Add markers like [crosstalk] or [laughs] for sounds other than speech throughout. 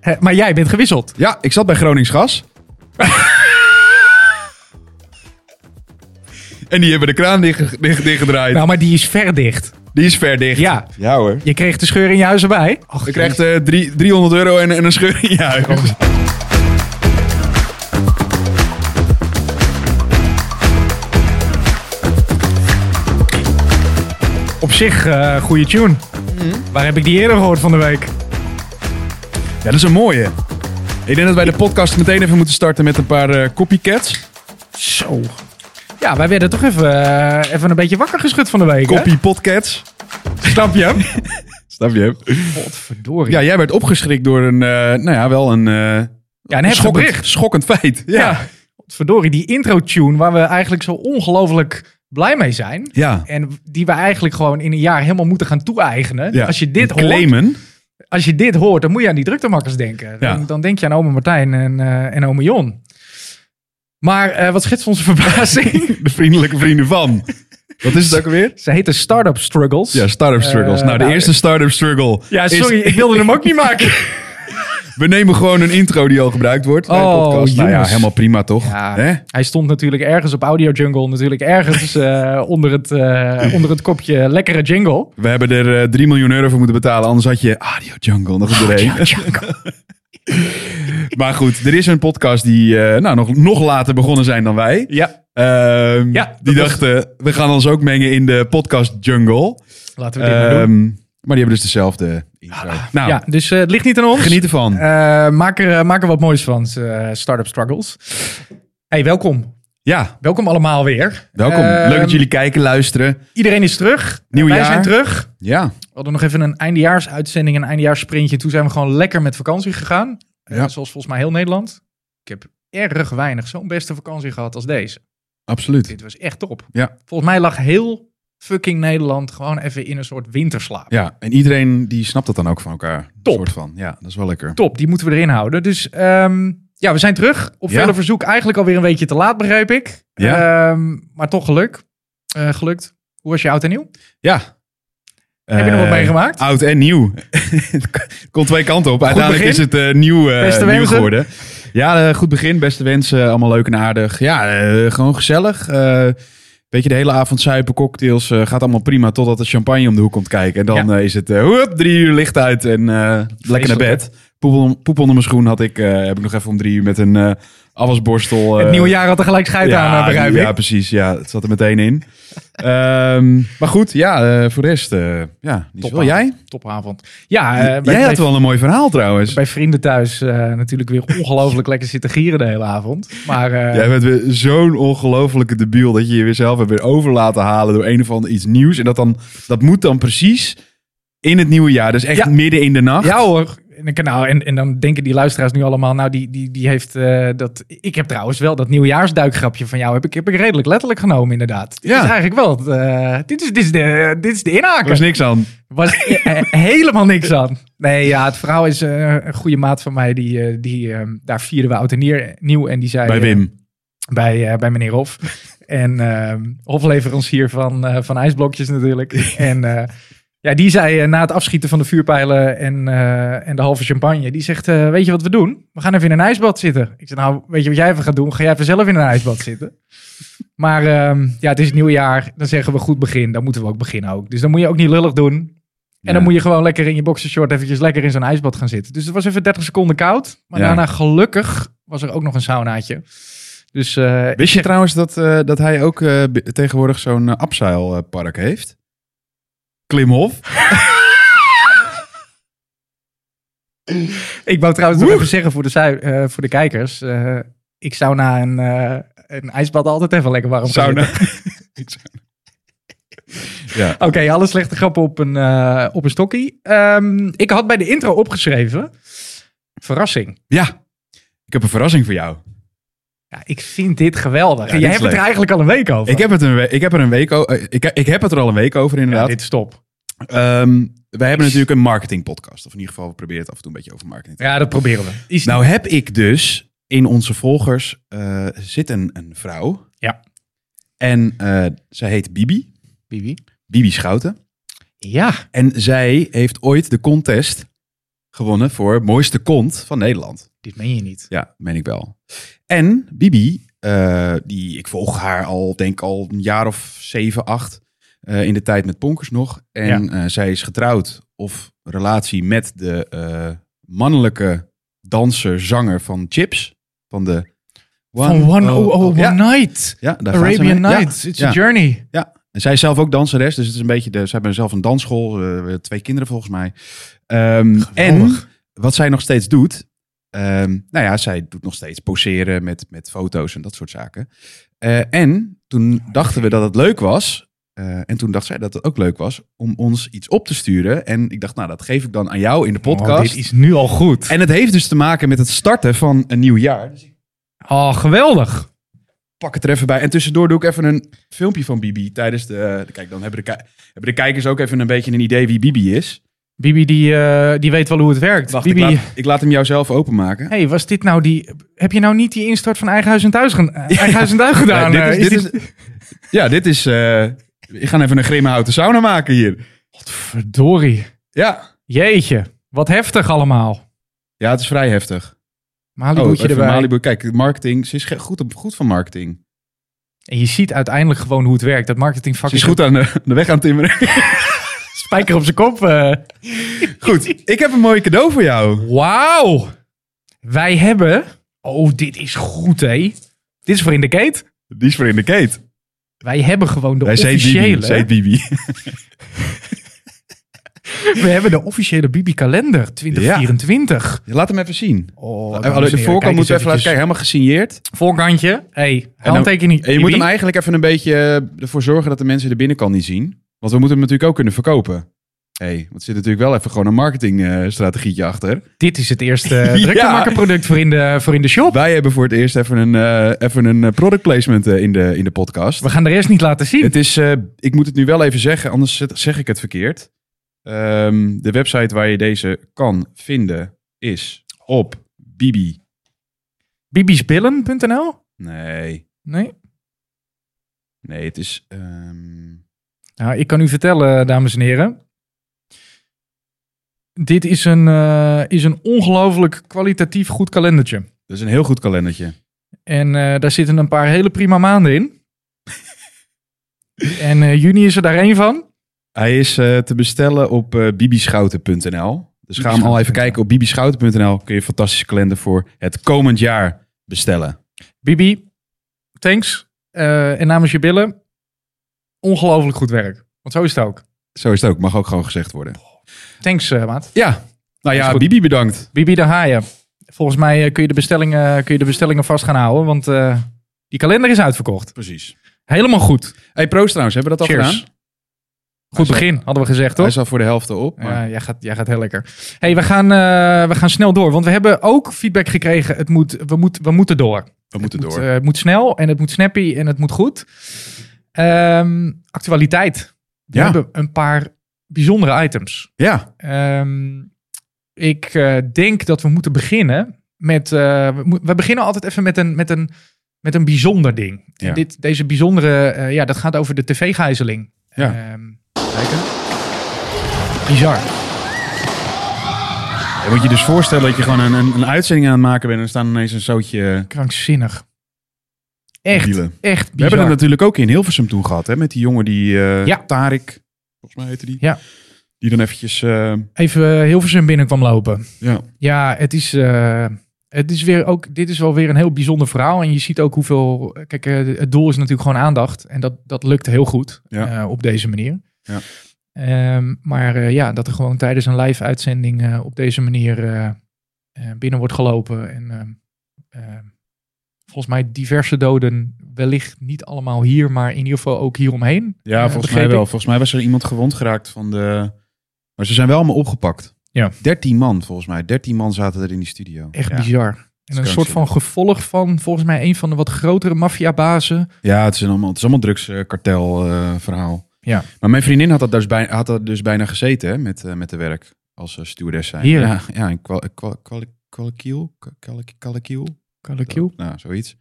Eh, maar jij bent gewisseld. Ja, ik zat bij Gronings [laughs] Gas. en die hebben de kraan dicht, dicht, dichtgedraaid. Nou, maar die is verdicht. Die is ver dicht. Ja, Ja hoor. je kreeg de scheur in je huis erbij. Je krijgt eh, drie, 300 euro en, en een scheur [laughs] in je huis. Op zich, eh goede tune. Mhm. Waar heb ik die eerder gehoord van de week? Ja, dat is een mooie. Ik denk dat wij de podcast meteen even moeten starten met een paar eh, copycats. Zo. Ja, wij werden toch even, eh, even een beetje wakker geschud van de week. hè? Copypodcats. Snap je hem? [laughs] Snap je? Godverdorie. Ja, jij werd opgeschrikt door een, eh, nou ja, wel een, eh, Ja, en heb schokkend, bericht. schokkend feit. Ja. Ja. ja. Verdorie, die intro-tune waar we eigenlijk zo ongelooflijk blij mee zijn. En die we eigenlijk gewoon in een jaar helemaal moeten gaan toe-eigenen. Ja. Als je dit hoort, Claimen. als je dit hoort, dan moet je aan die druktemakkers denken. Ja. Dan, dan denk je aan oma Martijn en, eh en oma Jon. Maar eh, wat schetst onze [laughs] verbazing? De vriendelijke vrienden van. Wat is het ook alweer? Ze heten Startup Struggles. Ja, Startup Struggles. Eh, nou, de nou, eerste Startup Struggle. Ja, is- sorry, ik wilde hem ook niet [laughs] maken. we nemen gewoon een intro die al gebruikt wordt bij de Oh, podcast. Nou ja, jongens. helemaal prima toch? Ja, Hè? Hij stond natuurlijk ergens op Audio Jungle. Natuurlijk ergens eh, onder, het, eh, onder het kopje lekkere jingle. We hebben er eh, 3 miljoen euro voor moeten betalen, anders had je Audio Jungle nog Ah, er doorheen. maar goed, er is een podcast die eh, nou, nog, nog later begonnen zijn dan wij. Ja, Ehm, Ja, dat die was- dachten, we gaan ons ook mengen in de podcast jungle. laten we dit maar doen. Ehm, maar die hebben dus dezelfde intro. Nou, Ja, dus eh, het ligt niet aan ons. geniet ervan. Eh, maak, er, eh, maak er wat moois van, eh, Startup Struggles. Hey, welkom. ja, Welkom allemaal weer. welkom. Ehm, Leuk dat jullie kijken, luisteren. Iedereen is terug. Nieuw Wij jaar. zijn terug. Ja, We hadden nog even een eindejaarsuitzending, een eindejaarssprintje. Toen zijn we gewoon lekker met vakantie gegaan. Eh, Ja. Zoals volgens mij heel Nederland. Ik heb erg weinig zo'n beste vakantie gehad als deze. absoluut. Dit was echt top. Ja. Volgens mij lag heel fucking Nederland gewoon even in een soort winterslaap. Ja, en iedereen die snapt dat dan ook van elkaar. Top. Soort van. Ja, dat is wel lekker. Top, die moeten we erin houden. Dus ehm, ja, we zijn terug. Op Ja. vele verzoek eigenlijk alweer een weekje te laat, begreep ik. Ja. Ehm, maar toch geluk. Eh, gelukt. Hoe was je oud en nieuw? Ja. Heb je nog wat Eh, meegemaakt? Oud en nieuw. [laughs] Het Komt twee kanten op. Uiteindelijk is begin. het eh, nieuw, eh, Beste nieuw wensen. geworden. Ja, eh, goed begin. Beste wensen. eh, Allemaal leuk en aardig. Ja, eh, gewoon gezellig. Eh weet je, de hele avond zuipen, cocktails. eh, gaat allemaal prima totdat de champagne om de hoek komt kijken. En dan eh, is het eh, hoep, drie uur licht uit en eh, lekker naar bed. Poep, on- poep onder mijn schoen had ik, eh, heb ik nog even om drie uur met een eh afwasborstel. het eh, nieuwe jaar had er gelijk scheid aan, eh, begrijp ik. ja, precies. Ja, het zat er meteen in. [laughs] Ehm, maar goed, ja, eh, voor de rest, eh, ja, niet Top zoveel. aan. Jij? Topavond. Ja, eh, bij, Jij bij, had wel een mooi verhaal trouwens. bij vrienden thuis eh, natuurlijk weer ongelooflijk lekker zitten gieren de hele avond. Maar eh, Jij bent weer zo'n ongelofelijke debiel dat je je weer zelf hebt weer over laten halen door een of ander iets nieuws. En dat, dan, dat moet dan precies in het nieuwe jaar. Dus echt Ja. midden in de nacht. Ja hoor. En, ik- nou, en, en dan denken die luisteraars nu allemaal, nou die, die, die heeft eh, dat... Ik heb trouwens wel dat nieuwjaarsduikgrapje van jou, heb ik, heb ik redelijk letterlijk genomen inderdaad. Dit Ja. is eigenlijk wel, het, eh, dit, is, dit, is de, dit is de Er inhaker. was niks aan. Was eh, helemaal niks aan. Nee, ja, het verhaal is eh, een goede maat van mij, die, eh, die, eh, daar vierden we oud en Nier- nieuw en die zei... Bij eh, Wim. bij, eh, bij meneer Hof. En eh, hofleverancier van, eh, van ijsblokjes natuurlijk. En eh, ja, die zei eh, na het afschieten van de vuurpijlen en, eh, en de halve champagne, die zegt, eh, weet je wat we doen? We gaan even in een ijsbad zitten. Ik zei, nou, weet je wat jij even gaat doen? Ga jij even zelf in een ijsbad zitten? Maar ehm, ja, het is het nieuwe jaar. Dan zeggen we goed begin. Dan moeten we ook beginnen ook. Dus dan moet je ook niet lullig doen. En dan Ja. moet je gewoon lekker in je boxershort eventjes lekker in zo'n ijsbad gaan zitten. Dus het was even 30 seconden koud. Maar Ja. daarna gelukkig was er ook nog een saunaatje. Dus eh, Wist je trouwens dat, eh, dat hij ook eh, b- tegenwoordig zo'n eh, abseilpark heeft? Klimhof. ik wou trouwens nog Woe! even zeggen voor de, zui- eh, voor de kijkers. eh, ik zou na een, eh, een ijsbad altijd even lekker warm gaan Sauna. zitten. nou- [laughs] Oké, alle slechte grappen op een, eh, op een stokkie. Ehm, ik had bij de intro opgeschreven. Verrassing. Ja, ik heb een verrassing voor jou. Ja, ik vind dit geweldig. Ja, En dit Jij is hebt het er leuk. eigenlijk al een week over. Ik heb, het een we- ik heb er een week o- eh, ik, ik heb het er al een week over, ja, inderdaad. dit stop. Ehm, wij hebben natuurlijk een marketingpodcast. Of in ieder geval, we proberen het af en toe een beetje over marketing. te Ja, dat proberen we. Is- Nou heb ik dus in onze volgers eh, zit een, een vrouw. Ja. En eh, zij heet Bibi. Bibi. Bibi Schouten. Ja, En zij heeft ooit de contest gewonnen voor mooiste kont van Nederland. Dit meen je niet. Ja, meen ik wel. En Bibi, eh, die, ik volg haar al, denk al een jaar of zeven, acht. eh, in de tijd met Ponkers nog. En eh, zij is getrouwd of relatie met de eh, mannelijke danser, zanger van Chips. Van de Van One Oh Oh Oh One Ja, Night. ja, daar gaat ze Arabian mee. Ja, Nights. It's ja. a journey. En zij is zelf ook danseres, dus het is een beetje de, ze hebben zelf een dansschool, eh, twee kinderen volgens mij. Ehm, en Geweldig. wat zij nog steeds doet, ehm, nou ja, zij doet nog steeds poseren met, met foto's en dat soort zaken. Eh, en toen dachten we dat het leuk was, eh, en toen dacht zij dat het ook leuk was, om ons iets op te sturen. En ik dacht, nou, dat geef ik dan aan jou in de Oh, podcast. dit is nu al goed. En het heeft dus te maken met het starten van een nieuw jaar. Dus ik Oh, geweldig. pak het er even bij. En tussendoor doe ik even een filmpje van Bibi tijdens de... eh, Kijk, dan hebben de, ki- hebben de kijkers ook even een beetje een idee wie Bibi is. Bibi, die, eh, die weet wel hoe het werkt. Wacht, Bibi, ik laat, ik laat hem jou zelf openmaken. hey, was dit nou die... Heb je nou niet die instart van Eigen Huis en Thuis, gen- eh, Eigen Huis en Thuis gedaan? Nou, Nee, Eh, dit is, dit is, ja, dit is... eh ik ga even een grimme houten sauna maken hier. Verdorie. Ja, Jeetje, wat heftig allemaal. ja het is vrij heftig. Oh, Malibu'tje even erbij. Malibu. Kijk, marketing. Ze is ge- goed, op, goed van marketing. En je ziet uiteindelijk gewoon hoe het werkt. Dat marketingvak Ze is goed aan de, aan de weg aan het timmeren. [laughs] een [laughs] spijker op zijn kop. eh. Goed, ik heb een mooi cadeau voor jou. Wauw. Wij hebben... Oh, dit is goed, hé. Dit is voor in de keet. Die is voor in de Kate. Wij hebben gewoon de Hij zei Bibi. officiële... Zij heet Bibi. We hebben de officiële Bibi-kalender 2024. Laat hem even zien. Oh, Even- Eh, de voorkant moet je even laten kijken. Helemaal gesigneerd. Voorkantje. hey, dan- handtekening. En Eh, je moet hem eigenlijk even een beetje eh, ervoor zorgen dat de mensen de binnenkant niet zien. Want we moeten hem natuurlijk ook kunnen verkopen. Hé, hey, want er zit natuurlijk wel even gewoon een marketingstrategietje achter. Dit is het eerste [laughs] eh, druktemakkerproduct voor, in de, voor in de shop. Wij hebben voor het eerst even een, eh, even een eh, product placement eh, in, de, in de podcast. We gaan de rest niet laten zien. Het is, eh, ik moet het nu wel even zeggen, anders zet- zeg ik het verkeerd. Ehm, de website waar je deze kan vinden is op Bibi. Bibisbillen.nl? Nee, Nee? nee, het is... ehm, Nou, ik kan u vertellen, dames en heren. Dit is een, eh, is een ongelooflijk kwalitatief goed kalendertje. dat is een heel goed kalendertje. En eh, daar zitten een paar hele prima maanden in. en eh, juni is er daar één van. Hij is eh, te bestellen op eh, bibischouten.nl. Dus ga hem al even kijken op bibischouten.nl. Kun je een fantastische kalender voor het komend jaar bestellen. Bibi, thanks. Eh, en namens je billen, ongelooflijk goed werk. Want zo is het ook. Zo is het ook. Mag ook gewoon gezegd worden. Thanks, eh, maat. Ja. Nou Is ja, goed. Bibi bedankt. Bibi, daar ga je. Volgens mij eh, kun, je de bestellingen, kun je de bestellingen vast gaan houden, want eh, die kalender is uitverkocht. Precies. Helemaal goed. Hey, proost trouwens. Hebben we dat al Cheers. gedaan? Goed Hij is al- begin, hadden we gezegd, Hij toch? is al voor de helft op. Maar... Ja, jij, gaat, jij gaat heel lekker. hey, we, gaan, eh, we gaan snel door, want we hebben ook feedback gekregen. Het moet, we, moet, we moeten door. we moeten Het moet, door. eh, het moet snel en het moet snappy en het moet goed. Ehm, actualiteit. We Ja. hebben een paar bijzondere items. ja. Ehm, ik eh, denk dat we moeten beginnen met... eh, we, mo- we beginnen altijd even met een, met een, met een bijzonder ding. Ja. En dit, deze bijzondere... eh, ja, dat gaat over de tv-gijzeling. Ja. Ehm, Kijken. bizar. Je moet je dus voorstellen dat je gewoon een, een, een uitzending aan het maken bent. En er staan ineens een zootje... Krankzinnig. Echt, Wielen. echt We hebben bizar. het natuurlijk ook in Hilversum toen gehad. Hè? Met die jongen die... eh, Ja. Tarik. Volgens mij heette die. Ja. Die dan eventjes... eh, Even eh, Hilversum binnenkwam lopen. ja. Ja, het is, eh, het is weer ook. Dit is wel weer een heel bijzonder verhaal. En je ziet ook hoeveel. Kijk, eh, het doel is natuurlijk gewoon aandacht. En dat, dat lukt heel goed Ja. eh, op deze manier. Ja. Ehm, maar eh, ja, dat er gewoon tijdens een live uitzending eh, op deze manier eh, eh, binnen wordt gelopen. En ehm, ehm, volgens mij diverse doden. Wellicht niet allemaal hier, maar in ieder geval ook hieromheen. Ja, Eh, volgens mij begreep wel. ik. Volgens mij was er iemand gewond geraakt van de. Maar ze zijn wel allemaal opgepakt. Ja. 13 man volgens mij. 13 man zaten er in die studio. Echt ja. bizar. En een soort van krankzinnig. gevolg van volgens mij een van de wat grotere maffiabazen. Ja, het is een allemaal, het is allemaal drugskartel eh, verhaal. Ja. Maar mijn vriendin had dat dus bijna, had dat dus bijna gezeten hè, met, eh, met de werk als eh, stewardess zijn. Hier? Ja, ja in kwal, kwal, kwal, Kwalakiel? Kwa- Kwalak- Kwalakiel? Kalakil. Nou, zoiets.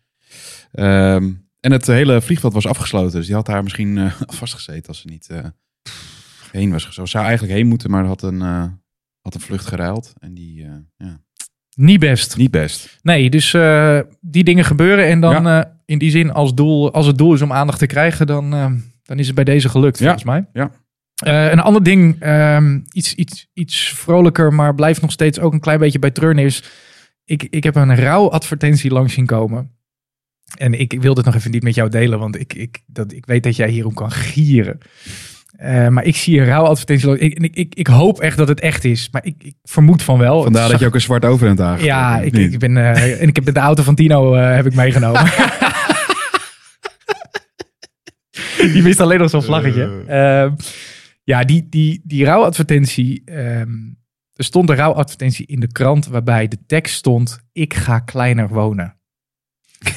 Ehm, en het hele vliegveld was afgesloten. Dus die had daar misschien [laughs] eh, vastgezeten als ze niet eh, heen was. gegaan. Ze zou eigenlijk heen moeten, maar had een, eh, Had een vlucht geruild en die, eh, ja, Niet best. niet best. Nee, dus eh, die dingen gebeuren. En dan eh, in die zin, als, doel, als het doel is om aandacht te krijgen, dan, eh, dan is het bij deze gelukt, Ja, volgens mij. ja. Eh, een ander ding, ehm, iets, iets, iets vrolijker, maar blijft nog steeds ook een klein beetje bij Treun is. Ik, ik heb een rouwadvertentie langs zien komen. En ik, ik wil dit nog even niet met jou delen, want ik, ik, dat, ik weet dat jij hierom kan gieren. Eh, maar ik zie een rouwadvertentie. langs- Ik, en ik, ik, ik hoop echt dat het echt is, maar ik, ik vermoed van wel. Vandaar Het dat je ook een zwart overhemd aangetrokken ja, hebt, ik, niet? ik ben. eh, en ik heb de auto van Tino eh, heb ik meegenomen. [laughs] die mist alleen nog zo'n vlaggetje. Ehm, ja, die, die, die rouwadvertentie. ehm, er stond een rouwadvertentie in de krant waarbij de tekst stond: Ik ga kleiner wonen.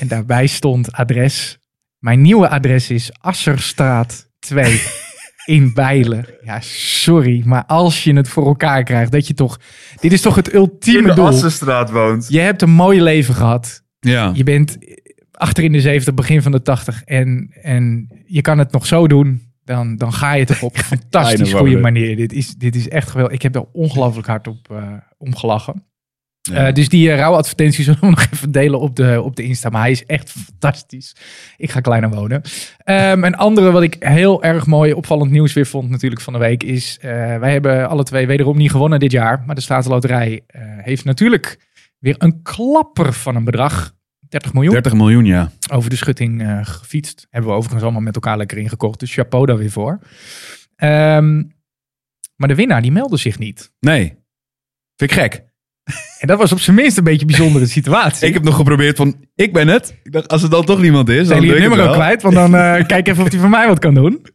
En daarbij stond adres. Mijn nieuwe adres is Asserstraat 2 in Bijlen. Ja, sorry, maar als je het voor elkaar krijgt, dat je toch. Dit is toch het ultieme doel. Assenstraat woont. Je hebt een mooi leven gehad. Ja, Je bent achter in de 70, begin van de 80. En, en je kan het nog zo doen. Dan, dan ga je het [laughs] op een fantastisch Kleine goede wonen. manier. Dit is, dit is echt geweldig. Ik heb daar ongelooflijk hard op eh, om gelachen. Ja. Eh, dus die eh, rouwadvertentie [laughs] zullen we nog even delen op de, op de Insta. Maar hij is echt fantastisch. Ik ga kleiner wonen. Ehm een andere wat ik heel erg mooi opvallend nieuws weer vond natuurlijk van de week is... eh, wij hebben alle twee wederom niet gewonnen dit jaar. Maar de Statenloterij eh, heeft natuurlijk weer een klapper van een bedrag. 30 miljoen 30 miljoen, ja. over de schutting eh, gefietst. Hebben we overigens allemaal met elkaar lekker ingekocht. Dus chapeau daar weer voor. Ehm, maar de winnaar die meldde zich niet. Nee. Vind ik gek. En dat was op zijn minst een beetje een bijzondere [laughs] situatie. Ik heb nog geprobeerd van, ik ben het. Ik dacht, als het dan toch niemand zijn is, dan doe jullie het ik het nummer ook wel. kwijt, want dan [laughs] eh, kijk even of hij voor mij wat kan doen.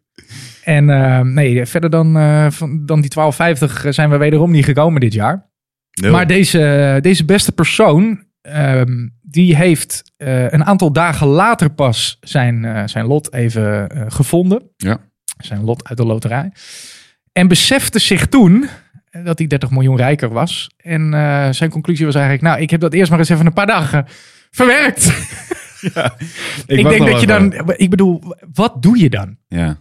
En eh, nee, verder dan, eh, van, dan die 12,50 zijn we wederom niet gekomen dit jaar. Nul. Maar deze, deze beste persoon, ehm, die heeft eh, een aantal dagen later pas zijn, eh, zijn lot even eh, gevonden. Ja. Zijn lot uit de loterij. En besefte zich toen eh, dat hij 30 miljoen rijker was. En eh, zijn conclusie was eigenlijk, nou, ik heb dat eerst maar eens even een paar dagen verwerkt. Ik, wacht denk nog dat je even. dan, ik bedoel, wat doe je dan? Ja.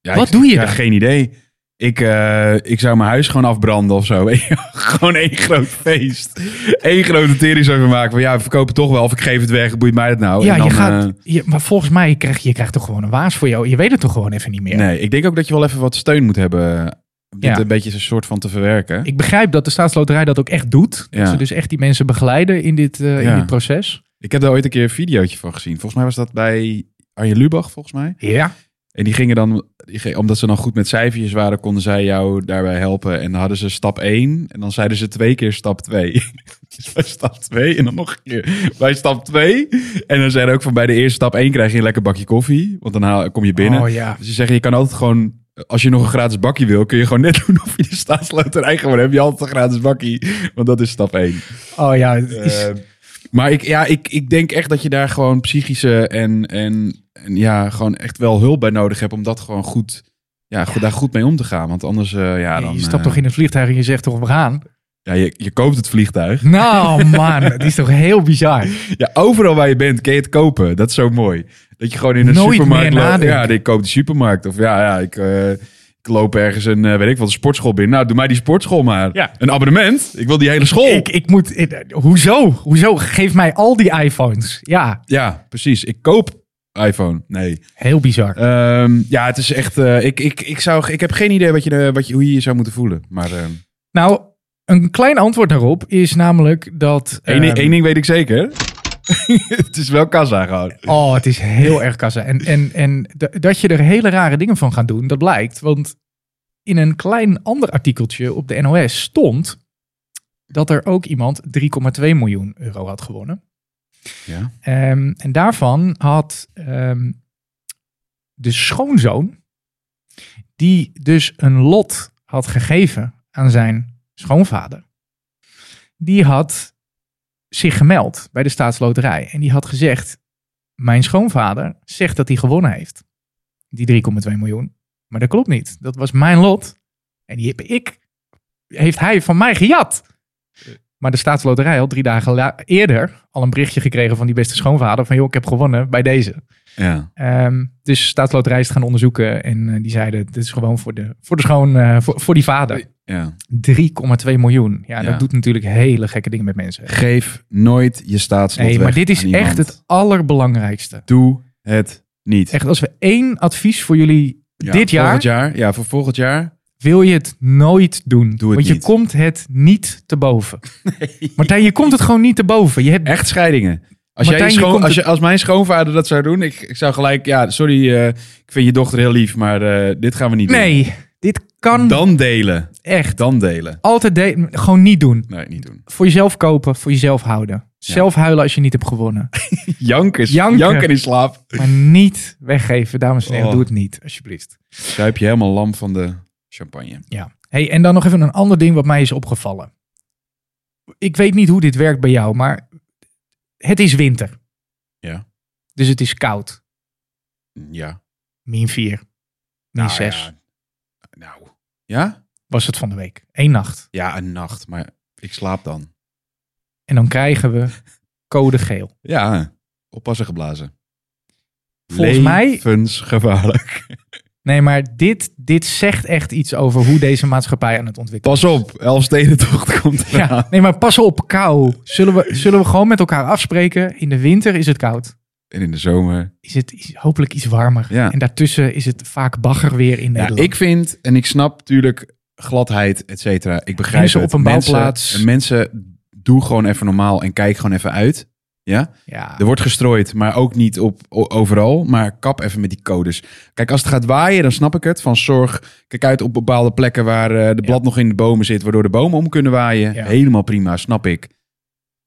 Ja, Wat ik- doe je ja, dan? Geen idee. Ik, eh, ik zou mijn huis gewoon afbranden of zo. [laughs] gewoon één groot feest. Eén grote tering zou ik maken. Van ja, we verkopen toch wel. Of ik geef het weg. Boeit mij dat nou? ja, En dan, je gaat, eh, je, maar volgens mij krijg je, je krijgt toch gewoon een waas voor jou. Je weet het toch gewoon even niet meer. Nee, ik denk ook dat je wel even wat steun moet hebben. eh, Om dit Ja. een beetje een soort van te verwerken. Ik begrijp dat de staatsloterij dat ook echt doet. Dat Ja. ze dus echt die mensen begeleiden in dit, eh, in Ja. dit proces. Ik heb daar ooit een keer een videootje van gezien. Volgens mij was dat bij Arjen Lubach, volgens mij. Ja. En die gingen dan, die ge- omdat ze dan goed met cijfertjes waren, konden zij jou daarbij helpen. En dan hadden ze stap 1 en dan zeiden ze twee [laughs] keer stap 2. dus bij stap 2 en dan nog een keer bij stap 2. En dan zeiden ook van bij de eerste stap 1 krijg je een lekker bakje koffie, want dan haal- kom je binnen. Oh ja. Dus ze zeggen, je kan altijd gewoon, als je nog een gratis bakje wil, kun je gewoon net doen of je de staatsloterij gewoon hebt. Je hebt altijd een gratis bakje, want dat is stap 1. Oh ja. het is- Eh, maar ik, ja, ik, ik denk echt dat je daar gewoon psychische en, en, en ja, gewoon echt wel hulp bij nodig hebt om dat gewoon goed, ja, goed, daar goed mee om te gaan. Want anders, eh, ja, dan. je eh, stapt toch in het vliegtuig en je zegt toch we gaan. ja, je, je koopt het vliegtuig. [laughs] Nou man, het is toch heel bizar. Ja, overal waar je bent kun je het kopen. Dat is zo mooi. Dat je gewoon in een Nooit supermarkt meer loopt. nadenken. Ja, ik koop de supermarkt. Of ja, ja ik, eh, ik loop ergens een, eh, weet ik wat, een sportschool binnen. Nou, doe mij die sportschool maar. Ja. Een abonnement. Ik wil die hele school. Ik, ik moet, ik- hoezo? Hoezo? Geef mij al die iPhones. Ja, Ja, precies. Ik koop iPhone. Nee. heel bizar. Ehm, ja, het is echt. eh, ik, ik, ik, zou, ik heb geen idee wat je, eh, wat je, hoe je je zou moeten voelen. Maar ehm Nou, een klein antwoord daarop is namelijk dat... één, ding- ehm, één ding weet ik zeker. het is wel kassa gehouden. Oh, het is heel erg kassa. En, en, en d- dat je er hele rare dingen van gaat doen, dat blijkt. Want in een klein ander artikeltje op de NOS stond dat er ook iemand 3,2 miljoen euro had gewonnen. Ja. Ehm, en daarvan had ehm, de schoonzoon, die dus een lot had gegeven aan zijn schoonvader, die had zich gemeld bij de staatsloterij. En die had gezegd, mijn schoonvader zegt dat hij gewonnen heeft. Die 3,2 miljoen. Maar dat klopt niet. Dat was mijn lot. En die heb ik, heeft hij van mij gejat. Maar de staatsloterij had drie dagen la- eerder al een berichtje gekregen van die beste schoonvader. Van joh, ik heb gewonnen bij deze. Ja. Ehm, dus staatsloterij is het gaan onderzoeken. En eh, die zeiden, dit is gewoon voor de, voor de schoon, eh, voor, voor die vader. Ja. 3,2 miljoen. Ja, Ja. dat doet natuurlijk hele gekke dingen met mensen. Geef nooit je staatslot Nee, weg maar dit is aan iemand. echt het allerbelangrijkste. Doe het niet. Echt, als we één advies voor jullie Ja, dit jaar, Volgend jaar? Ja, voor volgend jaar. wil je het nooit doen. Doe het want je niet. komt het niet te [laughs] boven. Martijn, je komt het gewoon niet te boven. Je hebt Echt scheidingen. Als, Martijn, jij je je schoon- komt als, het- je, als mijn schoonvader dat zou doen, ik, ik zou gelijk, ja, sorry, eh, ik vind je dochter heel lief, maar eh, dit gaan we niet Nee, dit doen. kan Dan delen. echt. Dan delen. Altijd de- gewoon niet doen. Nee, [laughs] niet doen. Voor jezelf kopen, voor jezelf houden. Zelf huilen als je niet hebt gewonnen. Janken, is- Janken. janken in slaap. Maar niet weggeven, dames en heren. Oh. Doe het niet, alsjeblieft. Zuip je helemaal lam van de champagne. Ja. Hey, en dan nog even een ander ding wat mij is opgevallen. Ik weet niet hoe dit werkt bij jou, maar het is winter. Ja. Dus het is koud. Ja. Min 4. Min Nou, 6 ja. Nou. Ja? was het van de week. Eén nacht. Ja, een nacht, maar ik slaap dan. En dan krijgen we code geel. Ja, oppassen geblazen. Volgens mij- Levensgevaarlijk. Nee, maar dit, dit zegt echt iets over hoe deze maatschappij aan het ontwikkelen Pas op, Elfstedentocht [laughs] komt is. eraan. Ja, nee, maar pas op, kou. Zullen we, zullen we gewoon met elkaar afspreken? In de winter is het koud. En in de zomer. Nou, Is het iets- hopelijk iets warmer. Ja. En daartussen is het vaak bagger weer in Ja, Nederland. ik vind, en ik snap natuurlijk gladheid, et cetera. Ik begrijp Mensen het. op een Mensen- bouwplaats. en mensen, doe gewoon even normaal en kijk gewoon even uit. Ja? ja. Er wordt gestrooid, maar ook niet op, o- overal. Maar kap even met die codes. Kijk, als het gaat waaien, dan snap ik het. Van zorg, kijk uit op bepaalde plekken waar eh, de blad nog in de bomen zit, waardoor de bomen om kunnen waaien. Ja. Helemaal prima, snap ik.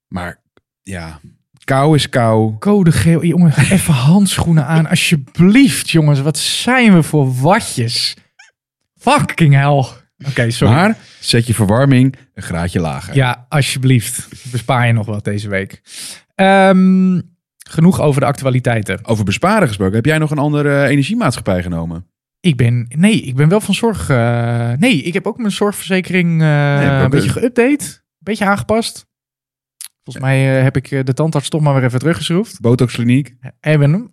Maar ja, kou is kou. Code geel, jongen, [laughs] even handschoenen aan. Alsjeblieft, jongens, wat zijn we voor watjes? Fucking hell. Oké, sorry. Maar zet je verwarming een graadje lager. Ja, alsjeblieft. Bespaar je nog wat deze week. Ehm, genoeg over de actualiteiten. Over besparen gesproken, heb jij nog een andere eh, energiemaatschappij genomen? Ik ben, nee, ik ben wel van zorg. eh, nee, ik heb ook mijn zorgverzekering eh, ik ook een beetje een- geüpdate. Een beetje aangepast. Volgens mij eh, heb ik eh, de tandarts toch maar weer even teruggeschroefd. Botoxkliniek? Hebben [laughs] hem.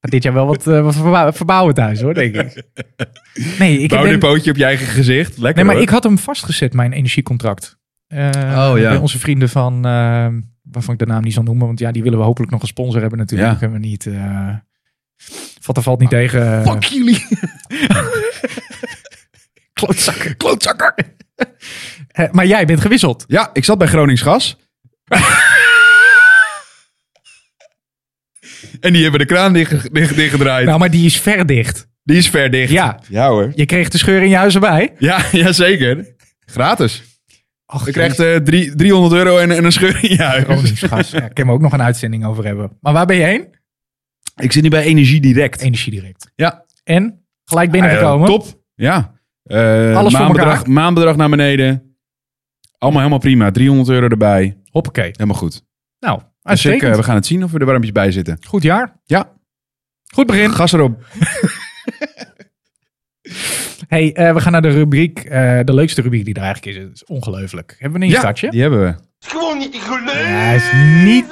Gaat dit jaar wel wat, eh, wat verba- verbouwen thuis hoor, denk ik. Nee, ik Bouw denk- een pootje op je eigen gezicht. Lekker Nee, maar hoor. ik Oh, had hem vastgezet, mijn energiecontract. Eh, ja. Bij onze vrienden van, eh, waarvan ik de naam niet zal noemen, want ja, die willen we hopelijk nog een sponsor hebben natuurlijk. Ja. Ah, Kunnen we niet, eh vat er valt niet tegen. eh, Fuck [laughs] jullie. klootzakker, klootzakker. Eh, maar jij bent gewisseld. Ja, ik zat bij Groningsgas. en die hebben de kraan dicht, dicht, dichtgedraaid. Nou, maar die is ver dicht. Die is ver dicht. Ja, Ja hoor. je kreeg de scheur in je huis erbij. Ja, [laughs] ja zeker. Gratis. Ach, Je krijgt eh, drie, 300 euro en, en een scheur in je huis. gas. Ja, ik kan er ook nog een uitzending over hebben. Maar waar ben je heen? Ik zit nu bij Energie Direct. Energie direct. Ja. En gelijk binnengekomen. Ah, ja, top. Ja. Eh, Alles voor maandbedrag, elkaar. maandbedrag naar beneden. Allemaal helemaal prima. 300 euro erbij. Hoppakee. Helemaal goed. Nou, Dus ik, uitstekend. eh, we gaan het zien of we er warmpjes bij zitten. Goed jaar. Ja. Goed begin. Gas erop. Hey, eh, we gaan naar de rubriek, eh, de leukste rubriek die er eigenlijk is. Het is ongelooflijk. Hebben we een Ja, instartje? die hebben we. is gewoon niet te geloven. Ja, hij is niet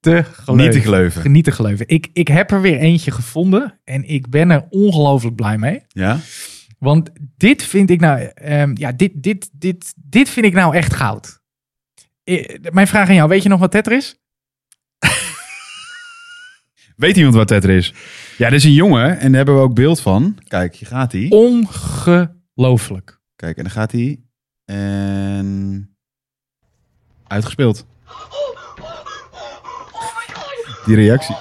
te geloven. Niet te geleuven. Niet te geloven. Ik, ik heb er weer eentje gevonden en ik ben er ongelooflijk blij mee. Ja? Want dit vind ik nou, ehm, ja, dit, dit, dit, dit vind ik nou echt goud. Eh, Mijn vraag aan jou, weet je nog wat Tetris? is? Weet iemand wat Tetra is? Ja, dit is een jongen en daar hebben we ook beeld van. Kijk, hier gaat hij. Ongelooflijk. Kijk, en dan gaat hij. En... Uitgespeeld. Die reactie.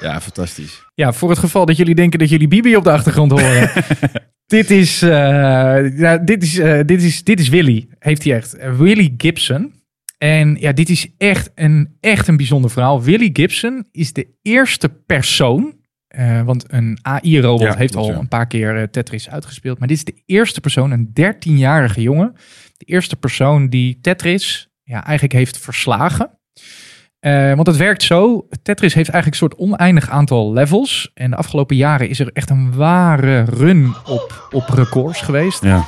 Ja, fantastisch. Ja, voor het geval dat jullie denken dat jullie Bibi op de achtergrond horen. dit, is, eh, ja, dit, is, eh, dit, is, dit is Willy, heeft hij echt. Eh, Willy Gibson. En ja, dit is echt een, echt een bijzonder verhaal. Willy Gibson is de eerste persoon. eh, want een AI-robot Ja, heeft klopt, al ja. een paar keer eh, Tetris uitgespeeld. Maar dit is de eerste persoon, een 13-jarige jongen. De eerste persoon die Tetris ja, eigenlijk heeft verslagen. Eh, want het werkt zo. Tetris heeft eigenlijk een soort oneindig aantal levels. En de afgelopen jaren is er echt een ware run op, op records geweest. Ja.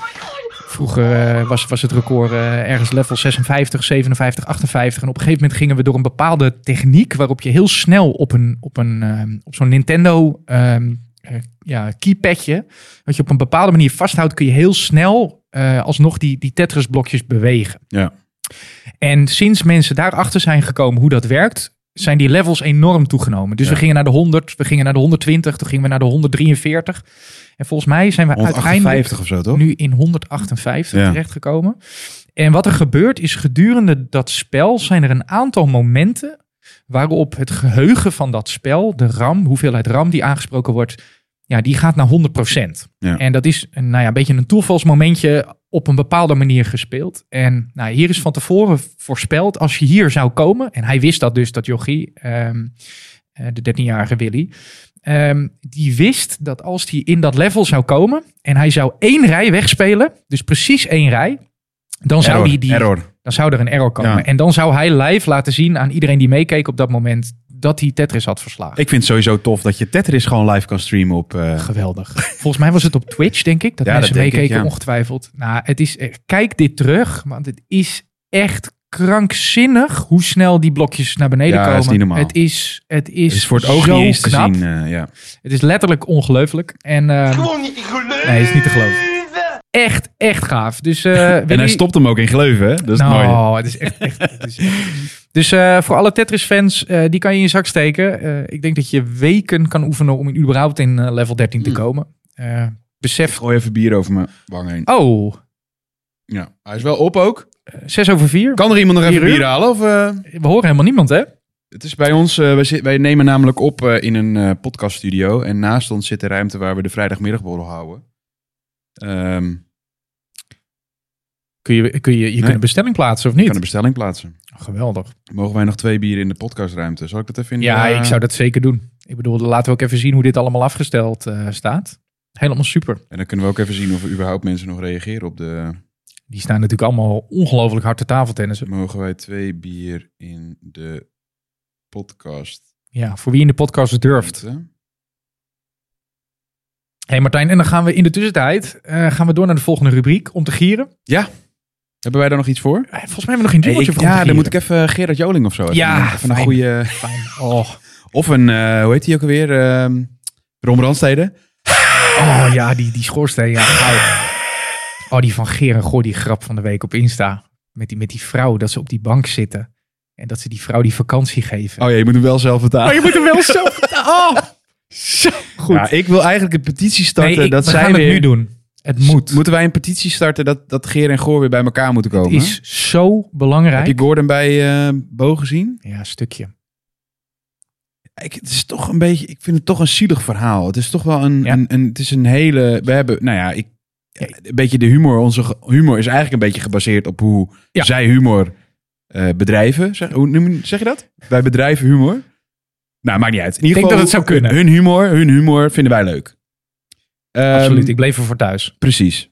Vroeger eh, was, was het record eh, ergens level 56, 57, 58. En op een gegeven moment gingen we door een bepaalde techniek waarop je heel snel op, een, op, een, ehm, op zo'n Nintendo ehm, eh, ja, keypadje, wat je op een bepaalde manier vasthoudt, kun je heel snel eh, alsnog die, die Tetris-blokjes bewegen. Ja. En sinds mensen daarachter zijn gekomen hoe dat werkt, zijn die levels enorm toegenomen. Dus Ja. we gingen naar de 100, we gingen naar de 120, toen gingen we naar de 143. En volgens mij zijn we uiteindelijk 158 of zo, toch? nu in 158 Ja. terechtgekomen. En wat er gebeurt is gedurende dat spel zijn er een aantal momenten waarop het geheugen van dat spel, de RAM, hoeveelheid RAM die aangesproken wordt, ja, die gaat naar 100%. Ja. En dat is een, nou ja, een beetje een toevalsmomentje op een bepaalde manier gespeeld. En nou, hier is van tevoren voorspeld, als je hier zou komen, en hij wist dat dus, dat jochie, ehm, eh, de 13-jarige Willy, Ehm, die wist dat als hij in dat level zou komen en hij zou één rij wegspelen, dus precies één rij, dan zou, Error, die, die, error. dan zou er een error komen. Ja. En dan zou hij live laten zien aan iedereen die meekeek op dat moment dat hij Tetris had verslagen. Ik vind het sowieso tof dat je Tetris gewoon live kan streamen op... eh, Geweldig. Volgens mij was het op Twitch, denk ik, dat Ja, mensen dat denk ik, meekeken, ja. ongetwijfeld. Nou, het is, eh, kijk dit terug, want het is echt krankzinnig hoe snel die blokjes naar beneden Ja, komen. het is niet normaal. Het is, het is, het is voor het oog zo niet eens te knap. zien. eh, ja. Het is letterlijk ongelooflijk. En ehm, Gewoon niet te geloven. Nee, is niet te echt, echt gaaf. Dus, eh, [laughs] En hij Willy- stopt hem ook in gleuven, hè? Dat is nou, mooi. het is echt. echt het is echt- Dus eh, voor alle Tetris-fans, eh, die kan je in je zak steken. Eh, ik denk dat je weken kan oefenen om in- überhaupt in eh, level 13 te Hmm. komen. Eh, besef. Gooi even bier over mijn wang heen. Oh, Ja. Hij is wel op ook. 6 over 4. Kan er iemand nog Vier even uur? bier halen? Of, eh? We horen helemaal niemand, hè? Het is bij ons, eh, wij, zit- wij nemen namelijk op eh, in een eh, podcaststudio. En naast ons zit de ruimte waar we de vrijdagmiddagborrel houden. Ehm, Kun je, kun je, je kunt een bestelling plaatsen of ik niet? kan een bestelling plaatsen. Geweldig. Mogen wij nog twee bieren in de podcastruimte? Zal ik dat even in eh, de- Ja, ik zou dat zeker doen. Ik bedoel, laten we ook even zien hoe dit allemaal afgesteld eh, staat. Helemaal super. En dan kunnen we ook even zien of er überhaupt mensen nog reageren op de... Die staan natuurlijk allemaal ongelooflijk hard te tafeltennissen. Mogen wij twee bier in de podcast? Ja, voor wie in de podcast durft. Ruimte? Hey Martijn, en dan gaan we in de tussentijd eh, gaan we door naar de volgende rubriek om te gieren. Hebben wij daar nog iets voor? Eh, Volgens mij hebben we nog geen Hey, duwtje ik- voor om ja, te dan moet ik gieren. even Gerard Joling of zo. Even, Ja, even een fijn. goede... Fijn. Oh, Of een, eh, hoe heet die ook alweer? Ehm Ron Brandstede. oh ja, die, die schoorsteen. Ja, goud. Oh, die van Geer en Goor, die grap van de week op Insta. Met die, met die vrouw, dat ze op die bank zitten. En dat ze die vrouw die vakantie geven. Oh ja, je moet hem wel zelf vertalen. Oh, je moet hem wel zo... Oh, zo goed. Ja, Nou, ik wil eigenlijk een petitie starten nee, ik- dat we zij gaan weer... het nu doen. Het moet. Moeten wij een petitie starten dat, dat Geer en Goor weer bij elkaar moeten Het komen? is zo Heb belangrijk. je Gordon bij eh Bo gezien? Ja, een stukje. Ik, het is toch een beetje, ik vind het toch een zielig verhaal. Het is toch wel een, Ja. een, een- het is een hele, we hebben, nou ja, ik, Ja. een beetje de humor, onze ge- humor is eigenlijk een beetje gebaseerd op hoe Ja. zij humor eh, bedrijven. Zeg, hoe noem je- zeg je dat? Wij bedrijven humor. Nou, maakt niet uit. In denk ieder geval, dat het zou kunnen. Hun humor, hun humor vinden wij leuk. Ehm, Absoluut, ik bleef ervoor thuis. Precies.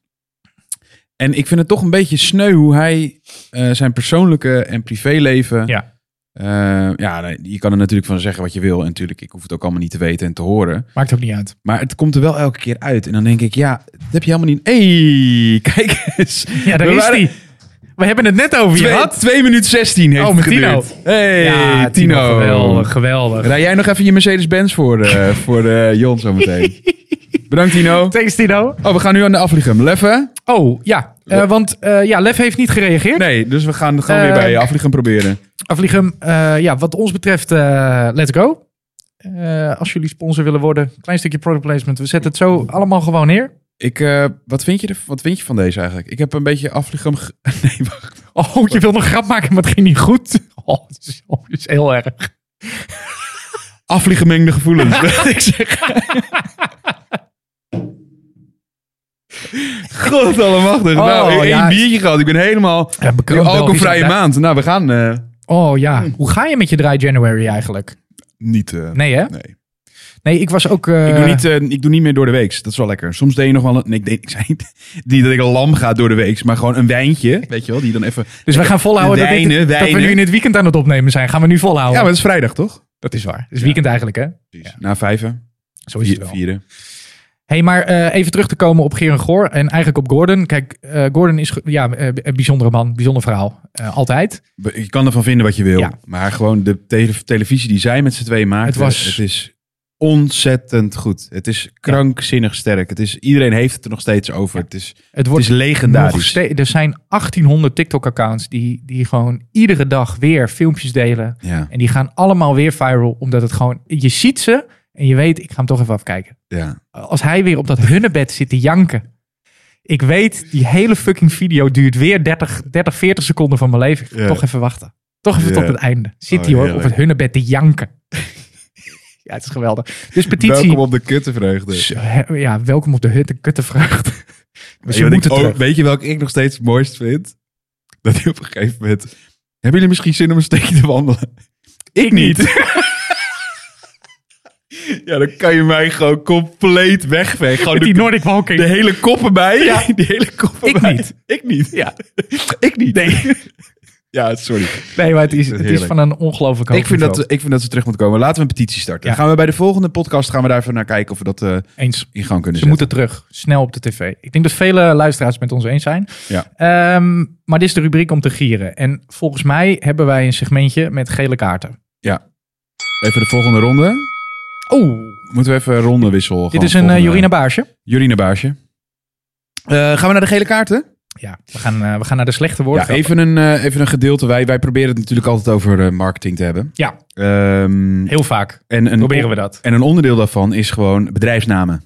En ik vind het toch een beetje sneu hoe hij eh, zijn persoonlijke en privéleven. Ja. Eh, ja, nee, je kan er natuurlijk van zeggen wat je wil. En natuurlijk, ik hoef het ook allemaal niet te weten en te horen. Maakt ook niet uit. Maar het komt er wel elke keer uit. En dan denk ik, ja, dat heb je helemaal niet. hey, [laughs] kijk eens. Ja, daar We is waren- die. We hebben het net over je Twee, gehad. 2 minuten 16 heeft Oh, met het Tino. geduurd. Hey, ja, Tino. Geweldig, geweldig. Rij jij nog even je Mercedes-Benz voor, eh voor eh, [laughs] Jon zometeen. Bedankt, Tino. Thanks, Tino. Oh, we gaan nu aan de afvliegem. Leffen? Oh, ja. eh, want eh, ja, Lef heeft niet gereageerd. Nee, dus we gaan gewoon weer Eh, bij je afvliegem proberen. Afliegem, eh, ja, wat ons betreft, eh, let's go. Eh, als jullie sponsor willen worden, klein stukje product placement. We zetten het zo allemaal gewoon neer. Ik, eh, wat, vind je er, wat vind je van deze eigenlijk? Ik heb een beetje afvliegem... ge- [laughs] Nee, wacht. Oh, je wil nog grap maken, maar het ging niet goed. [laughs] Oh, het is, oh, het is heel erg. Afvlieggemengde gevoelens, wil ik zeggen. God allemachtig. nou, Oh, één ja. biertje gehad. Ik ben helemaal... Ja, bekroond Alcoholvrije Belgisch. maand. Nou, we gaan eh, Oh ja, hoe ga je met je dry January eigenlijk? niet... eh, Nee hè? nee. Nee, ik was ook... eh, Ik doe, niet, eh, ik doe niet meer door de weeks. Dat is wel lekker. Soms deed je nog wel een. Nee, ik, deed, ik zei niet, [laughs] niet dat ik een lam ga door de weeks, maar gewoon een wijntje. Weet je wel, die dan even. Dus we gaan volhouden dat, dit- Wijnen, dat we wijnen. nu in het weekend aan het opnemen zijn. Gaan we nu volhouden. Ja, maar het is vrijdag toch? Dat is waar. Het is weekend eigenlijk, hè? Precies. Na vijven, Zo is het vier, wel. vieren. hey, maar eh, even terug te komen op Geer en Goor en eigenlijk op Gordon. Kijk, eh, Gordon is ge- ja, eh, een bijzondere man, bijzonder verhaal. Eh, altijd. We- Je kan ervan vinden wat je wil. Ja. Maar gewoon de tele- televisie die zij met z'n twee maakten. Het was- Het is ontzettend goed. Het is krankzinnig sterk. Het is, iedereen heeft het er nog steeds over. Het, is, Het het wordt is nog legendarisch. ste- er zijn 1800 TikTok-accounts die, die gewoon iedere dag weer filmpjes delen. Ja, En die gaan allemaal weer viral, omdat het gewoon... Je ziet ze en je weet, ik ga hem toch even afkijken. ja. Als hij weer op dat hunnebed zit te janken. Ik weet, die hele fucking video duurt weer 30, 30 40 seconden van mijn leven. Ik ga Ja. toch even wachten. Toch even Ja. tot het einde. Zit Oh, hij hoor, op heerlijk. het hunnebed te janken. [laughs] ja, het is geweldig. Dus petitie. Welkom op de kuttenvreugde. Zo, hè, Ja, welkom op de hut, de kuttenvraag. Weet Dus je je wat moet ik oh, het ook- terug. weet je welke ik nog steeds het mooist vind? Dat hij op een gegeven moment... Hebben jullie misschien zin om een steekje te wandelen? Ik [laughs] niet. [laughs] ja, dan kan je mij gewoon compleet wegvegen. Gewoon Met Oh, de, die Nordic [laughs] Walking. de hele koppen bij. [laughs] Ja. Die hele koppen Ik bij. niet. Ik niet. Ja. [laughs] ik niet. Nee. ja, sorry. Nee, maar het is, het is Heerlijk. van een ongelooflijk hoog Ik vind, niveau. dat, ik vind dat ze terug moeten komen. Laten we een petitie starten. Ja. Gaan we bij de volgende podcast gaan we daarvoor naar kijken of we dat eh, Eens. in gang kunnen Ze zetten. moeten terug. Snel op de tv. Ik denk dat vele luisteraars het met ons eens zijn. Ja. Ehm, maar dit is de rubriek om te gieren. En volgens mij hebben wij een segmentje met gele kaarten. Even de volgende ronde. Oeh, Moeten we even een ronde wisselen? dit is een eh, Jorina Baarsje. Jorine Baarsje. Eh, gaan we naar de gele kaarten? Ja, we gaan, eh, we gaan naar de slechte Ja, woorden. even, een, eh, even een gedeelte. Wij, wij proberen het natuurlijk altijd over eh, marketing te hebben. Ja. Ehm, Heel vaak en een, proberen we dat. En een onderdeel daarvan is gewoon bedrijfsnamen.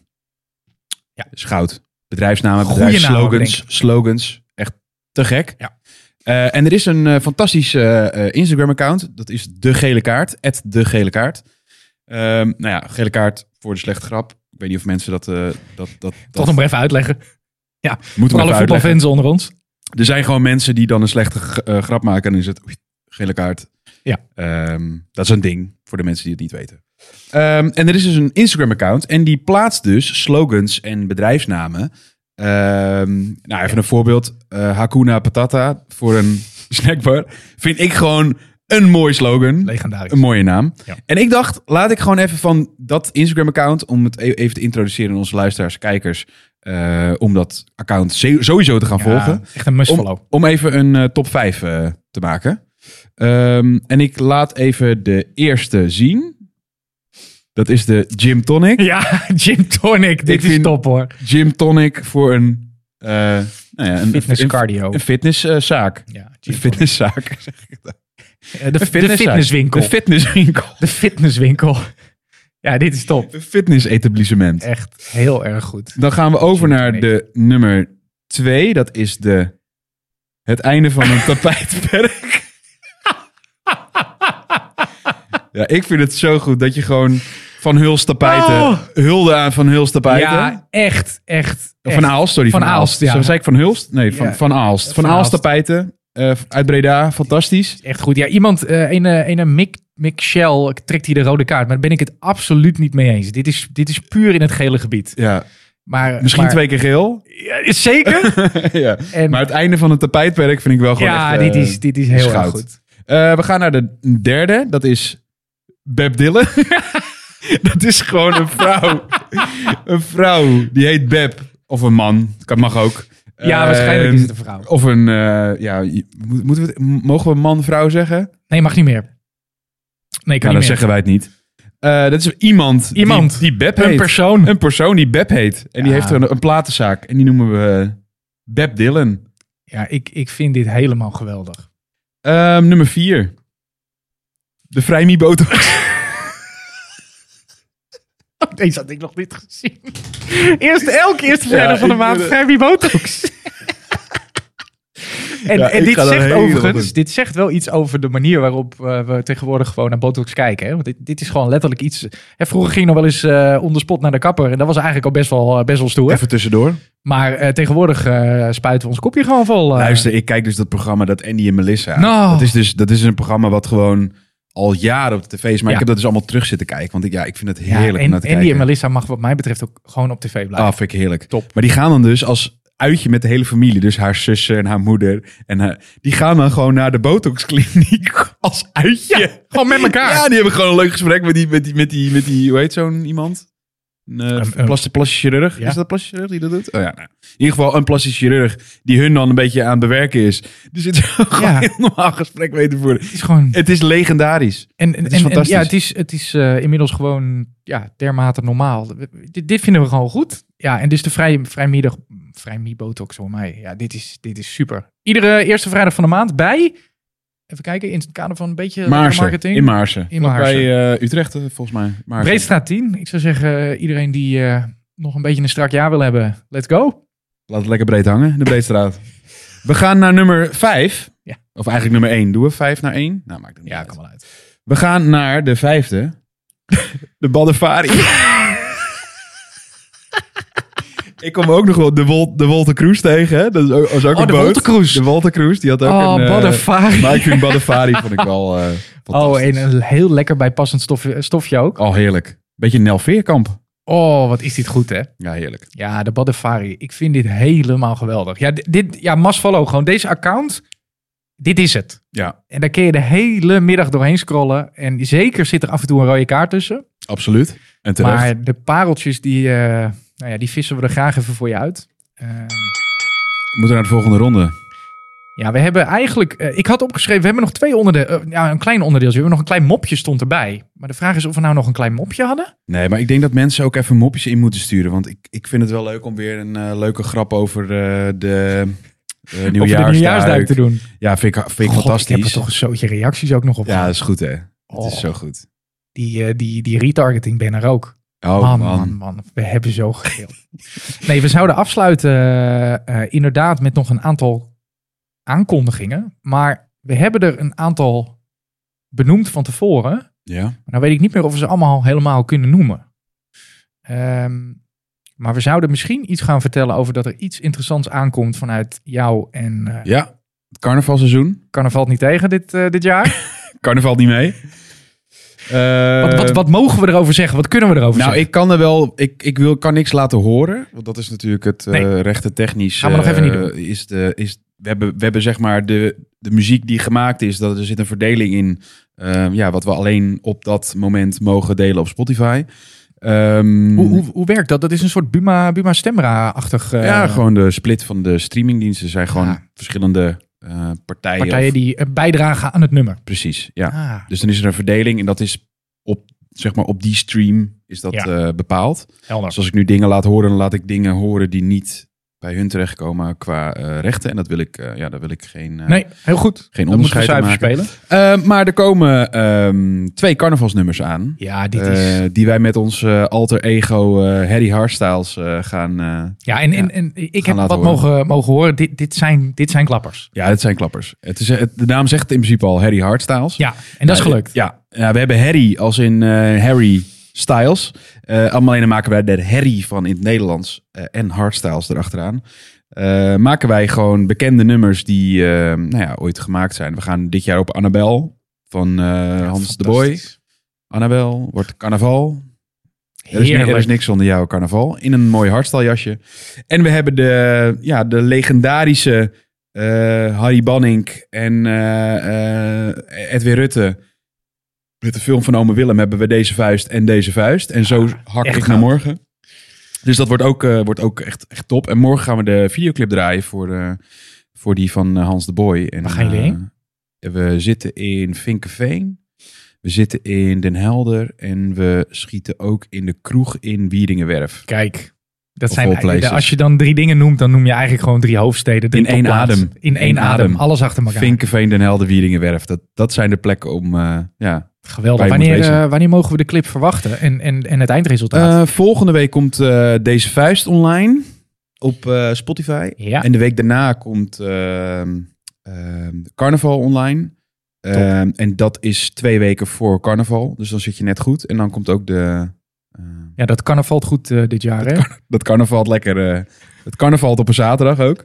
Ja. Is goud. Bedrijfsnamen, Goeie namen, bedrijfsslogans. denk Slogans. Echt te gek. Ja. Eh, en er is een eh, fantastisch eh, eh, Instagram-account. Dat is De Gele Kaart. @degelekaart. De Gele Kaart. Ehm, nou ja, Gele Kaart voor de slechte grap. Ik weet niet of mensen dat... eh dat, dat, dat Toch nog maar even uitleggen. moeten Voor we alle even uitleggen. voetbalfans onder ons. Er zijn gewoon mensen die dan een slechte g- eh, grap maken. En dan is het oei, gele kaart. Ja. Ehm, dat is een ding voor de mensen die het niet weten. Ehm, en er is dus een Instagram-account. En die plaatst dus slogans en bedrijfsnamen. Ehm, nou, even een voorbeeld. Eh, Hakuna Patata voor een [laughs] snackbar. Vind ik gewoon een mooi slogan. Legendarisch. Een mooie naam. Ja. En ik dacht, laat ik gewoon even van dat Instagram-account, om het e- even te introduceren aan onze luisteraars, kijkers, eh, om dat account ze- sowieso te gaan Ja, volgen Echt een must follow. om, om even een eh, top 5 eh, te maken. Ehm, en ik laat even de eerste zien. Dat is de Gym [laughs] Tonic. Ja, Jim Tonic. Dit is vind- top hoor. Gym Tonic voor een, eh, nou ja, een Fitness een- cardio. Een fitnesszaak. Ja, een Jim Tonic. fitnesszaak. zeg ik dan. Eh, De, de Een fitnesszaak. fitnesswinkel. Een fitnesswinkel. De fitnesswinkel. Ja, dit is top. Een fitnessetablissement. Echt heel erg goed. Dan gaan we over Gym naar Tonic. de nummer 2. Dat is de, het einde van [laughs] een tapijtperk. ja, ik vind het zo goed dat je gewoon van Huls tapijten... Oh. Hulde aan Van Hulst tapijten. Ja, echt, echt. Of van echt. Aalst, sorry. Van Van, Aalst, Aalst. ja. Zo zei ik Van Hulst? Nee, van, Ja. van Aalst. Van, Van Aalst Aalst. tapijten eh, uit Breda. Fantastisch. Echt goed. Ja, iemand, eh een, eh, een, een Mick, Mick Shell trekt hier de rode kaart. Maar daar ben ik het absoluut niet mee eens. Dit is, dit is puur in het gele gebied. Ja, Maar, misschien maar- twee keer [laughs] geel. Ja, [laughs] zeker. ja. En, Maar het einde van het tapijtwerk vind ik wel gewoon ja, echt... eh, dit, is, dit is heel erg schout. goed. Eh, we gaan naar de derde. Dat is Beb Dillen. [laughs] dat is gewoon een vrouw. een vrouw. Die heet Beb. Of een man. Kan, mag ook. Ja, Eh, waarschijnlijk is het een vrouw. Of een... eh, ja, je- moet- moeten we, het- mogen we man-vrouw zeggen? Nee, mag niet meer. Nee, kan Nou, dan niet meer. zeggen wij het niet. Eh, dat is iemand, Iemand. die, die Beb een heet. persoon. een persoon die Beb heet. En die Ja. heeft een, een platenzaak. En die noemen we eh, Beb Dylan. Ja, ik, ik vind dit helemaal geweldig. Ehm, nummer vier. De Vrijmi Botox. [laughs] Deze had ik nog niet gezien. Eerst elke eerste Ja, verder van de ik maand ben- vrij wie botox. [laughs] en Ja, en ik dit ga daar zegt helemaal overigens, in. dit zegt wel iets over de manier waarop eh, we tegenwoordig gewoon naar botox kijken. Hè? Want dit, dit is gewoon letterlijk iets. Hè, vroeger ging je nog wel eens eh onder spot naar de kapper en dat was eigenlijk al best wel, eh, best wel stoer. Even tussendoor. Maar eh, tegenwoordig eh, spuiten we ons kopje gewoon vol. eh. Luister, ik kijk dus dat programma dat Andy en Melissa. Nou. Dat, is dus, dat is een programma wat gewoon al jaren op de tv is. Maar Ja. ik heb dat dus allemaal terug zitten kijken. Want ik, ja, ik vind Ja, het heerlijk om en naar te Andy en kijken. Melissa mag wat mij betreft ook gewoon op tv blijven. Ah, vind ik heerlijk. Top. Maar die gaan dan dus als uitje met de hele familie. Dus haar zussen en haar moeder. En haar- die gaan dan gewoon naar de botoxkliniek [laughs] als uitje. Gewoon met elkaar. Ja, die hebben gewoon een leuk gesprek met die, met die, met die, met die hoe heet zo'n iemand? Een, Een- eh een- plastic, plastisch chirurg. Ja. Is dat een plastisch chirurg die dat doet? Oh, ja, nou. In ieder geval een plastisch chirurg die hun dan een beetje aan het bewerken is. Die zit [laughs] zo gewoon Ja. heel normaal gesprek mee te voeren. Het is gewoon... Het is legendarisch. En, en, is en- en fantastisch. ja, het is, het is eh, inmiddels gewoon ja, dermate normaal. We- we- Dit, dit vinden we gewoon goed. Ja, en dus de vrij, vrijmiddag, vrijmibotox voor mij. Ja, dit is, dit is super. Iedere eerste vrijdag van de maand bij, even kijken, in het kader van een beetje Maarsen. marketing. In Maarsen. In Maarsen. Bij eh, Utrecht eh, volgens mij. Maarsen. Breedstraat 10. Ik zou zeggen, eh, iedereen die eh, nog een beetje een strak jaar wil hebben, let's go. Laat het lekker breed hangen, de Breedstraat. We gaan naar nummer 5. Ja. Of eigenlijk nummer 1. Doen we 5 naar 1? Nou, maakt het niet uit. wel uit. We gaan naar de vijfde. [laughs] De [laughs] Badafari. Ik kwam ook nog wel de, Wol de Wolter Cruise tegen. hè. Dat is ook, was ook Oh, een de boot. Wolter Cruise. De Wolter Cruise, die had ook Oh, een... eh, Badafari. [laughs] Maar ik vind Badafari vond ik wel eh Oh, fantastisch. en een heel lekker bijpassend stofje, stofje ook. Oh, heerlijk. Beetje Nel Veerkamp. Oh, wat is dit goed, hè? Ja, heerlijk. Ja, de Badafari. Ik vind dit helemaal geweldig. Ja, dit- dit, ja, must follow. Gewoon deze account. Dit is het. Ja, En daar kun je de hele middag doorheen scrollen. En zeker zit er af en toe een rode kaart tussen. absoluut. En terecht. Maar de pareltjes, die, eh, nou ja, die vissen we er graag even voor je uit. Ehm, We moeten naar de volgende ronde. ja, we hebben eigenlijk... eh, ik had opgeschreven, we hebben nog twee onderdelen. ja, een klein onderdeeltje. We hebben nog een klein mopje stond erbij. Maar de vraag is of we nou nog een klein mopje hadden. Nee, maar ik denk dat mensen ook even mopjes in moeten sturen. Want ik, ik vind het wel leuk om weer een eh, leuke grap over eh, de... eh, Of we de nieuwjaarsduik te doen. Ja, vind ik, vind ik God, Ik fantastisch. heb er toch een zootje reacties ook nog op. Ja, dat is goed, hè? Dat Oh. is zo goed. Die, eh, die, die retargeting ben er ook. Oh, man, man, man, we hebben zo gegild. [laughs] nee, we zouden afsluiten eh, eh, inderdaad met nog een aantal aankondigingen. Maar we hebben er een aantal benoemd van tevoren. Ja. Maar nou weet ik niet meer of we ze allemaal helemaal kunnen noemen. Ehm, maar we zouden misschien iets gaan vertellen over dat er iets interessants aankomt vanuit jou en eh ja, het carnavalseizoen. carnaval niet tegen dit, eh, dit [laughs] jaar. Carnaval niet mee. Eh, wat, wat, wat mogen we erover zeggen? Wat kunnen we erover nou, zeggen? ik kan er wel. Ik, ik wil, kan niks laten horen. Want dat is natuurlijk het eh Nee. rechte technisch. Gaan we nog eh, even niet doen. Is de, is, we, hebben, we hebben zeg maar de, de muziek die gemaakt is. Dat er zit een verdeling in. eh, ja, wat we alleen op dat moment mogen delen op Spotify. Ehm, hoe, hoe, hoe werkt dat? Dat is een soort Buma, Buma Stemra-achtig... eh, ja, gewoon de split van de streamingdiensten zijn gewoon Ja. verschillende eh, partijen. partijen of- die eh, bijdragen aan het nummer. Precies, ja. Ah, Dus dan is er een verdeling en dat is op, zeg maar, op die stream is dat Ja. eh, bepaald. helder. Dus als ik nu dingen laat horen, dan laat ik dingen horen die niet bij hun terechtkomen qua eh, rechten. En dat wil ik, eh, ja, daar wil ik geen, eh, Nee, heel goed. geen Dan moeten we onderscheid in zuiver maken. spelen. Eh, maar er komen ehm, twee carnavalsnummers aan. Ja, dit is... eh, die wij met ons eh, alter ego eh, Harry Harstyles eh, gaan... eh, Ja, en, en, ja. en ik heb Gaan wat laten mogen, mogen horen. Dit, dit, zijn, dit zijn klappers. ja, het zijn klappers. Het is, eh, het- de naam zegt het in principe al Harry Harstyles. Ja, en dat is Nou, gelukt. Ja, Ja, we hebben Harry als in eh, Harry Styles. Eh allemaal alleen dan maken wij er Harry van in het Nederlands eh, en Hardstyles erachteraan. Eh, maken wij gewoon bekende nummers die eh, nou ja, ooit gemaakt zijn. We gaan dit jaar op Annabel van eh, Hans de Boy. fantastisch. Annabel wordt carnaval. Er is, ni- Heerlijk. er is niks zonder jouw carnaval. In een mooi hardstaljasje. En we hebben de, ja, de legendarische eh, Harry Banning en eh, eh, Edwin Rutte. Met de film van Ome Willem hebben we deze vuist en deze vuist. En zo Ah, hak echt ik naar goud. morgen. Dus dat wordt ook, eh, wordt ook echt, echt top. En morgen gaan we de videoclip draaien voor, eh, voor die van eh, Hans de Boy. En, Waar gaan jullie eh, heen? we zitten in Vinkenveen. We zitten in Den Helder en we schieten ook in de kroeg in Wieringenwerf. Kijk, dat Of zijn, all places. de- als je dan drie dingen noemt, dan noem je eigenlijk gewoon drie hoofdsteden. drie In één topplaatsen. adem. In één Eén adem. adem. Alles achter elkaar. Vinkenveen, Den Helder, Wieringenwerf. Dat, dat zijn de plekken om... eh, ja. Geweldig. waar je moet Wanneer, wezen. eh, wanneer mogen we de clip verwachten en, en, en het eindresultaat? Eh, volgende week komt eh, Deze Vuist online op eh, Spotify. ja, En de week daarna komt ehm, ehm, Carnaval online. Ehm, en dat is twee weken voor Carnaval. Dus dan zit je net goed. En dan komt ook de... ehm, ja, dat carnaval valt goed eh, dit jaar. Hè? Dat carnaval lekker. eh, het carnaval op een zaterdag ook.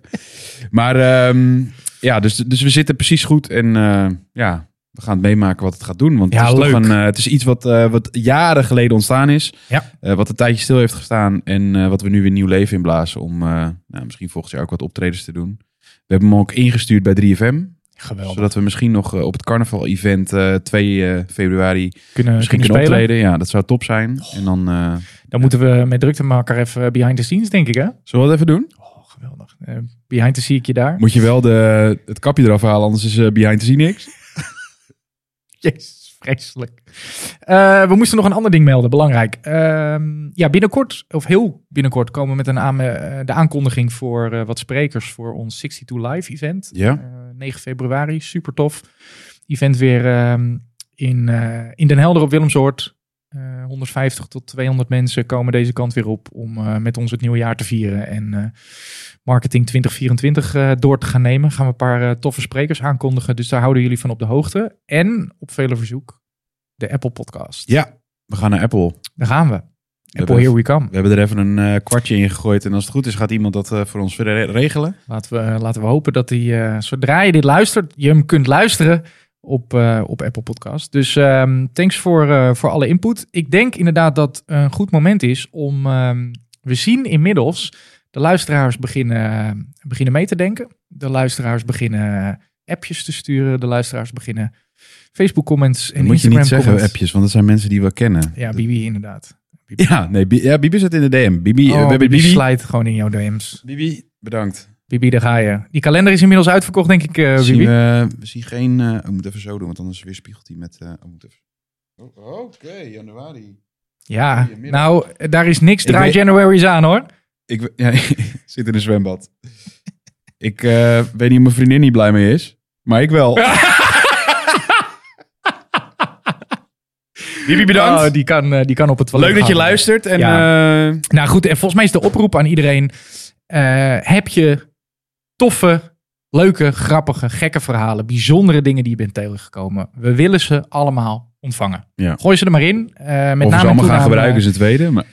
Maar ehm, ja, dus, dus we zitten precies goed. En eh, ja, we gaan het meemaken wat het gaat doen. Want Ja, het, is leuk. Toch een, eh, het is iets wat, eh, wat jaren geleden ontstaan is. Ja. Eh, wat een tijdje stil heeft gestaan. En eh, wat we nu weer nieuw leven inblazen. Om eh, nou, misschien volgend jaar ook wat optredens te doen. We hebben hem ook ingestuurd bij 3FM. Geweldig. Zodat we misschien nog eh, op het carnaval-event eh, 2 eh, februari kunnen, misschien kunnen kunnen spelen. optreden. Ja, dat zou top zijn. En dan eh, Dan moeten we met druktemaker even eh, behind the scenes, denk ik, hè? zullen we dat even doen? Oh, geweldig. Eh, behind the scenes je daar. Moet je wel de, het kapje eraf halen, anders is eh, behind the scene niks. [laughs] Jezus, vreselijk. Eh, we moesten nog een ander ding melden, belangrijk. Ehm, ja, binnenkort, of heel binnenkort, komen we met een aan, eh, de aankondiging voor eh, wat sprekers voor ons 62 Live event. Ja, Eh, 9 februari, super tof. Event weer ehm, in, eh, in Den Helder op Willemsoord. Eh, 150 tot 200 mensen komen deze kant weer op om eh, met ons het nieuwe jaar te vieren. En eh, marketing 2024 eh, door te gaan nemen. Gaan we een paar eh, toffe sprekers aankondigen. Dus daar houden jullie van op de hoogte. En op vele verzoek de Apple podcast. ja we gaan naar Apple. Daar gaan we. Apple, we- here we come. We hebben er even een eh, kwartje in gegooid. En als het goed is, gaat iemand dat eh, voor ons verder re- regelen. Laten we, laten we hopen dat hij, eh, zodra je dit luistert, je hem kunt luisteren op, eh, op Apple Podcast. Dus ehm, thanks voor, eh, voor alle input. Ik denk inderdaad dat een goed moment is om, ehm, we zien inmiddels, de luisteraars beginnen, beginnen mee te denken. De luisteraars beginnen eh, appjes te sturen. De luisteraars beginnen Facebook comments en Dat moet je Instagram niet zeggen, comments. appjes, want dat zijn mensen die we kennen. Ja, Bibi inderdaad. Ja, nee, Bi- ja, Bibi zit in de DM. Bibi, eh, Oh, we hebben Bibi Bibi. slijt gewoon in jouw DM's. Bibi, bedankt. Bibi, daar ga je. Die kalender is inmiddels uitverkocht, denk ik, eh, zien Bibi. we, we zien geen... eh ik moet even zo doen, want anders weer spiegelt hij met... eh, oh, moet even- Oh, Oké, januari. Ja, Goedemiddag. nou, daar is niks Ik dry weet- January's aan hoor. Ik, we- [laughs] ja, ik zit in een zwembad. ik eh, weet niet of mijn vriendin niet blij mee is, maar ik [laughs] wel. Bibi, bedankt. Oh, die, kan, eh, die kan op het toilet Leuk dat je gaan. luistert. En, eh, Nou goed, en volgens mij is de oproep aan iedereen. eh, heb je toffe, leuke, grappige, gekke verhalen, bijzondere dingen die je bent tegengekomen? We willen ze allemaal ontvangen. Ja. Gooi ze er maar in. eh, met of name we ze en eh, allemaal gaan toename. gebruiken is het tweede. Maar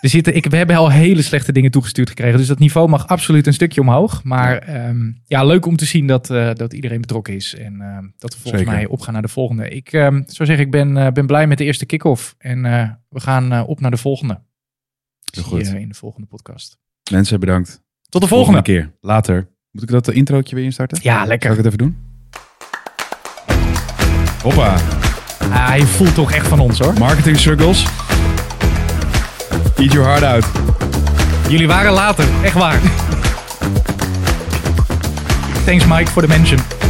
Er zitten, ik, we hebben al hele slechte dingen toegestuurd gekregen. Dus dat niveau mag absoluut een stukje omhoog. Maar ehm, ja, leuk om te zien dat, eh, dat iedereen betrokken is. En ehm, dat we volgens Zeker. mij opgaan naar de volgende. Ik ehm, zou zeggen, ik ben, eh, ben blij met de eerste kick-off. En eh, we gaan eh, op naar de volgende. Heel Zie je goed. in de volgende podcast. Mensen, bedankt. Tot de Volgende volgende. keer. Later. Moet ik dat eh, introotje weer instarten? Ja, Kan ik lekker. het even doen? Hoppa. Ah, je voelt toch echt van ons hoor. Marketing circles. Eat your heart out. Jullie waren later. Echt waar. Thanks Mike voor de mention.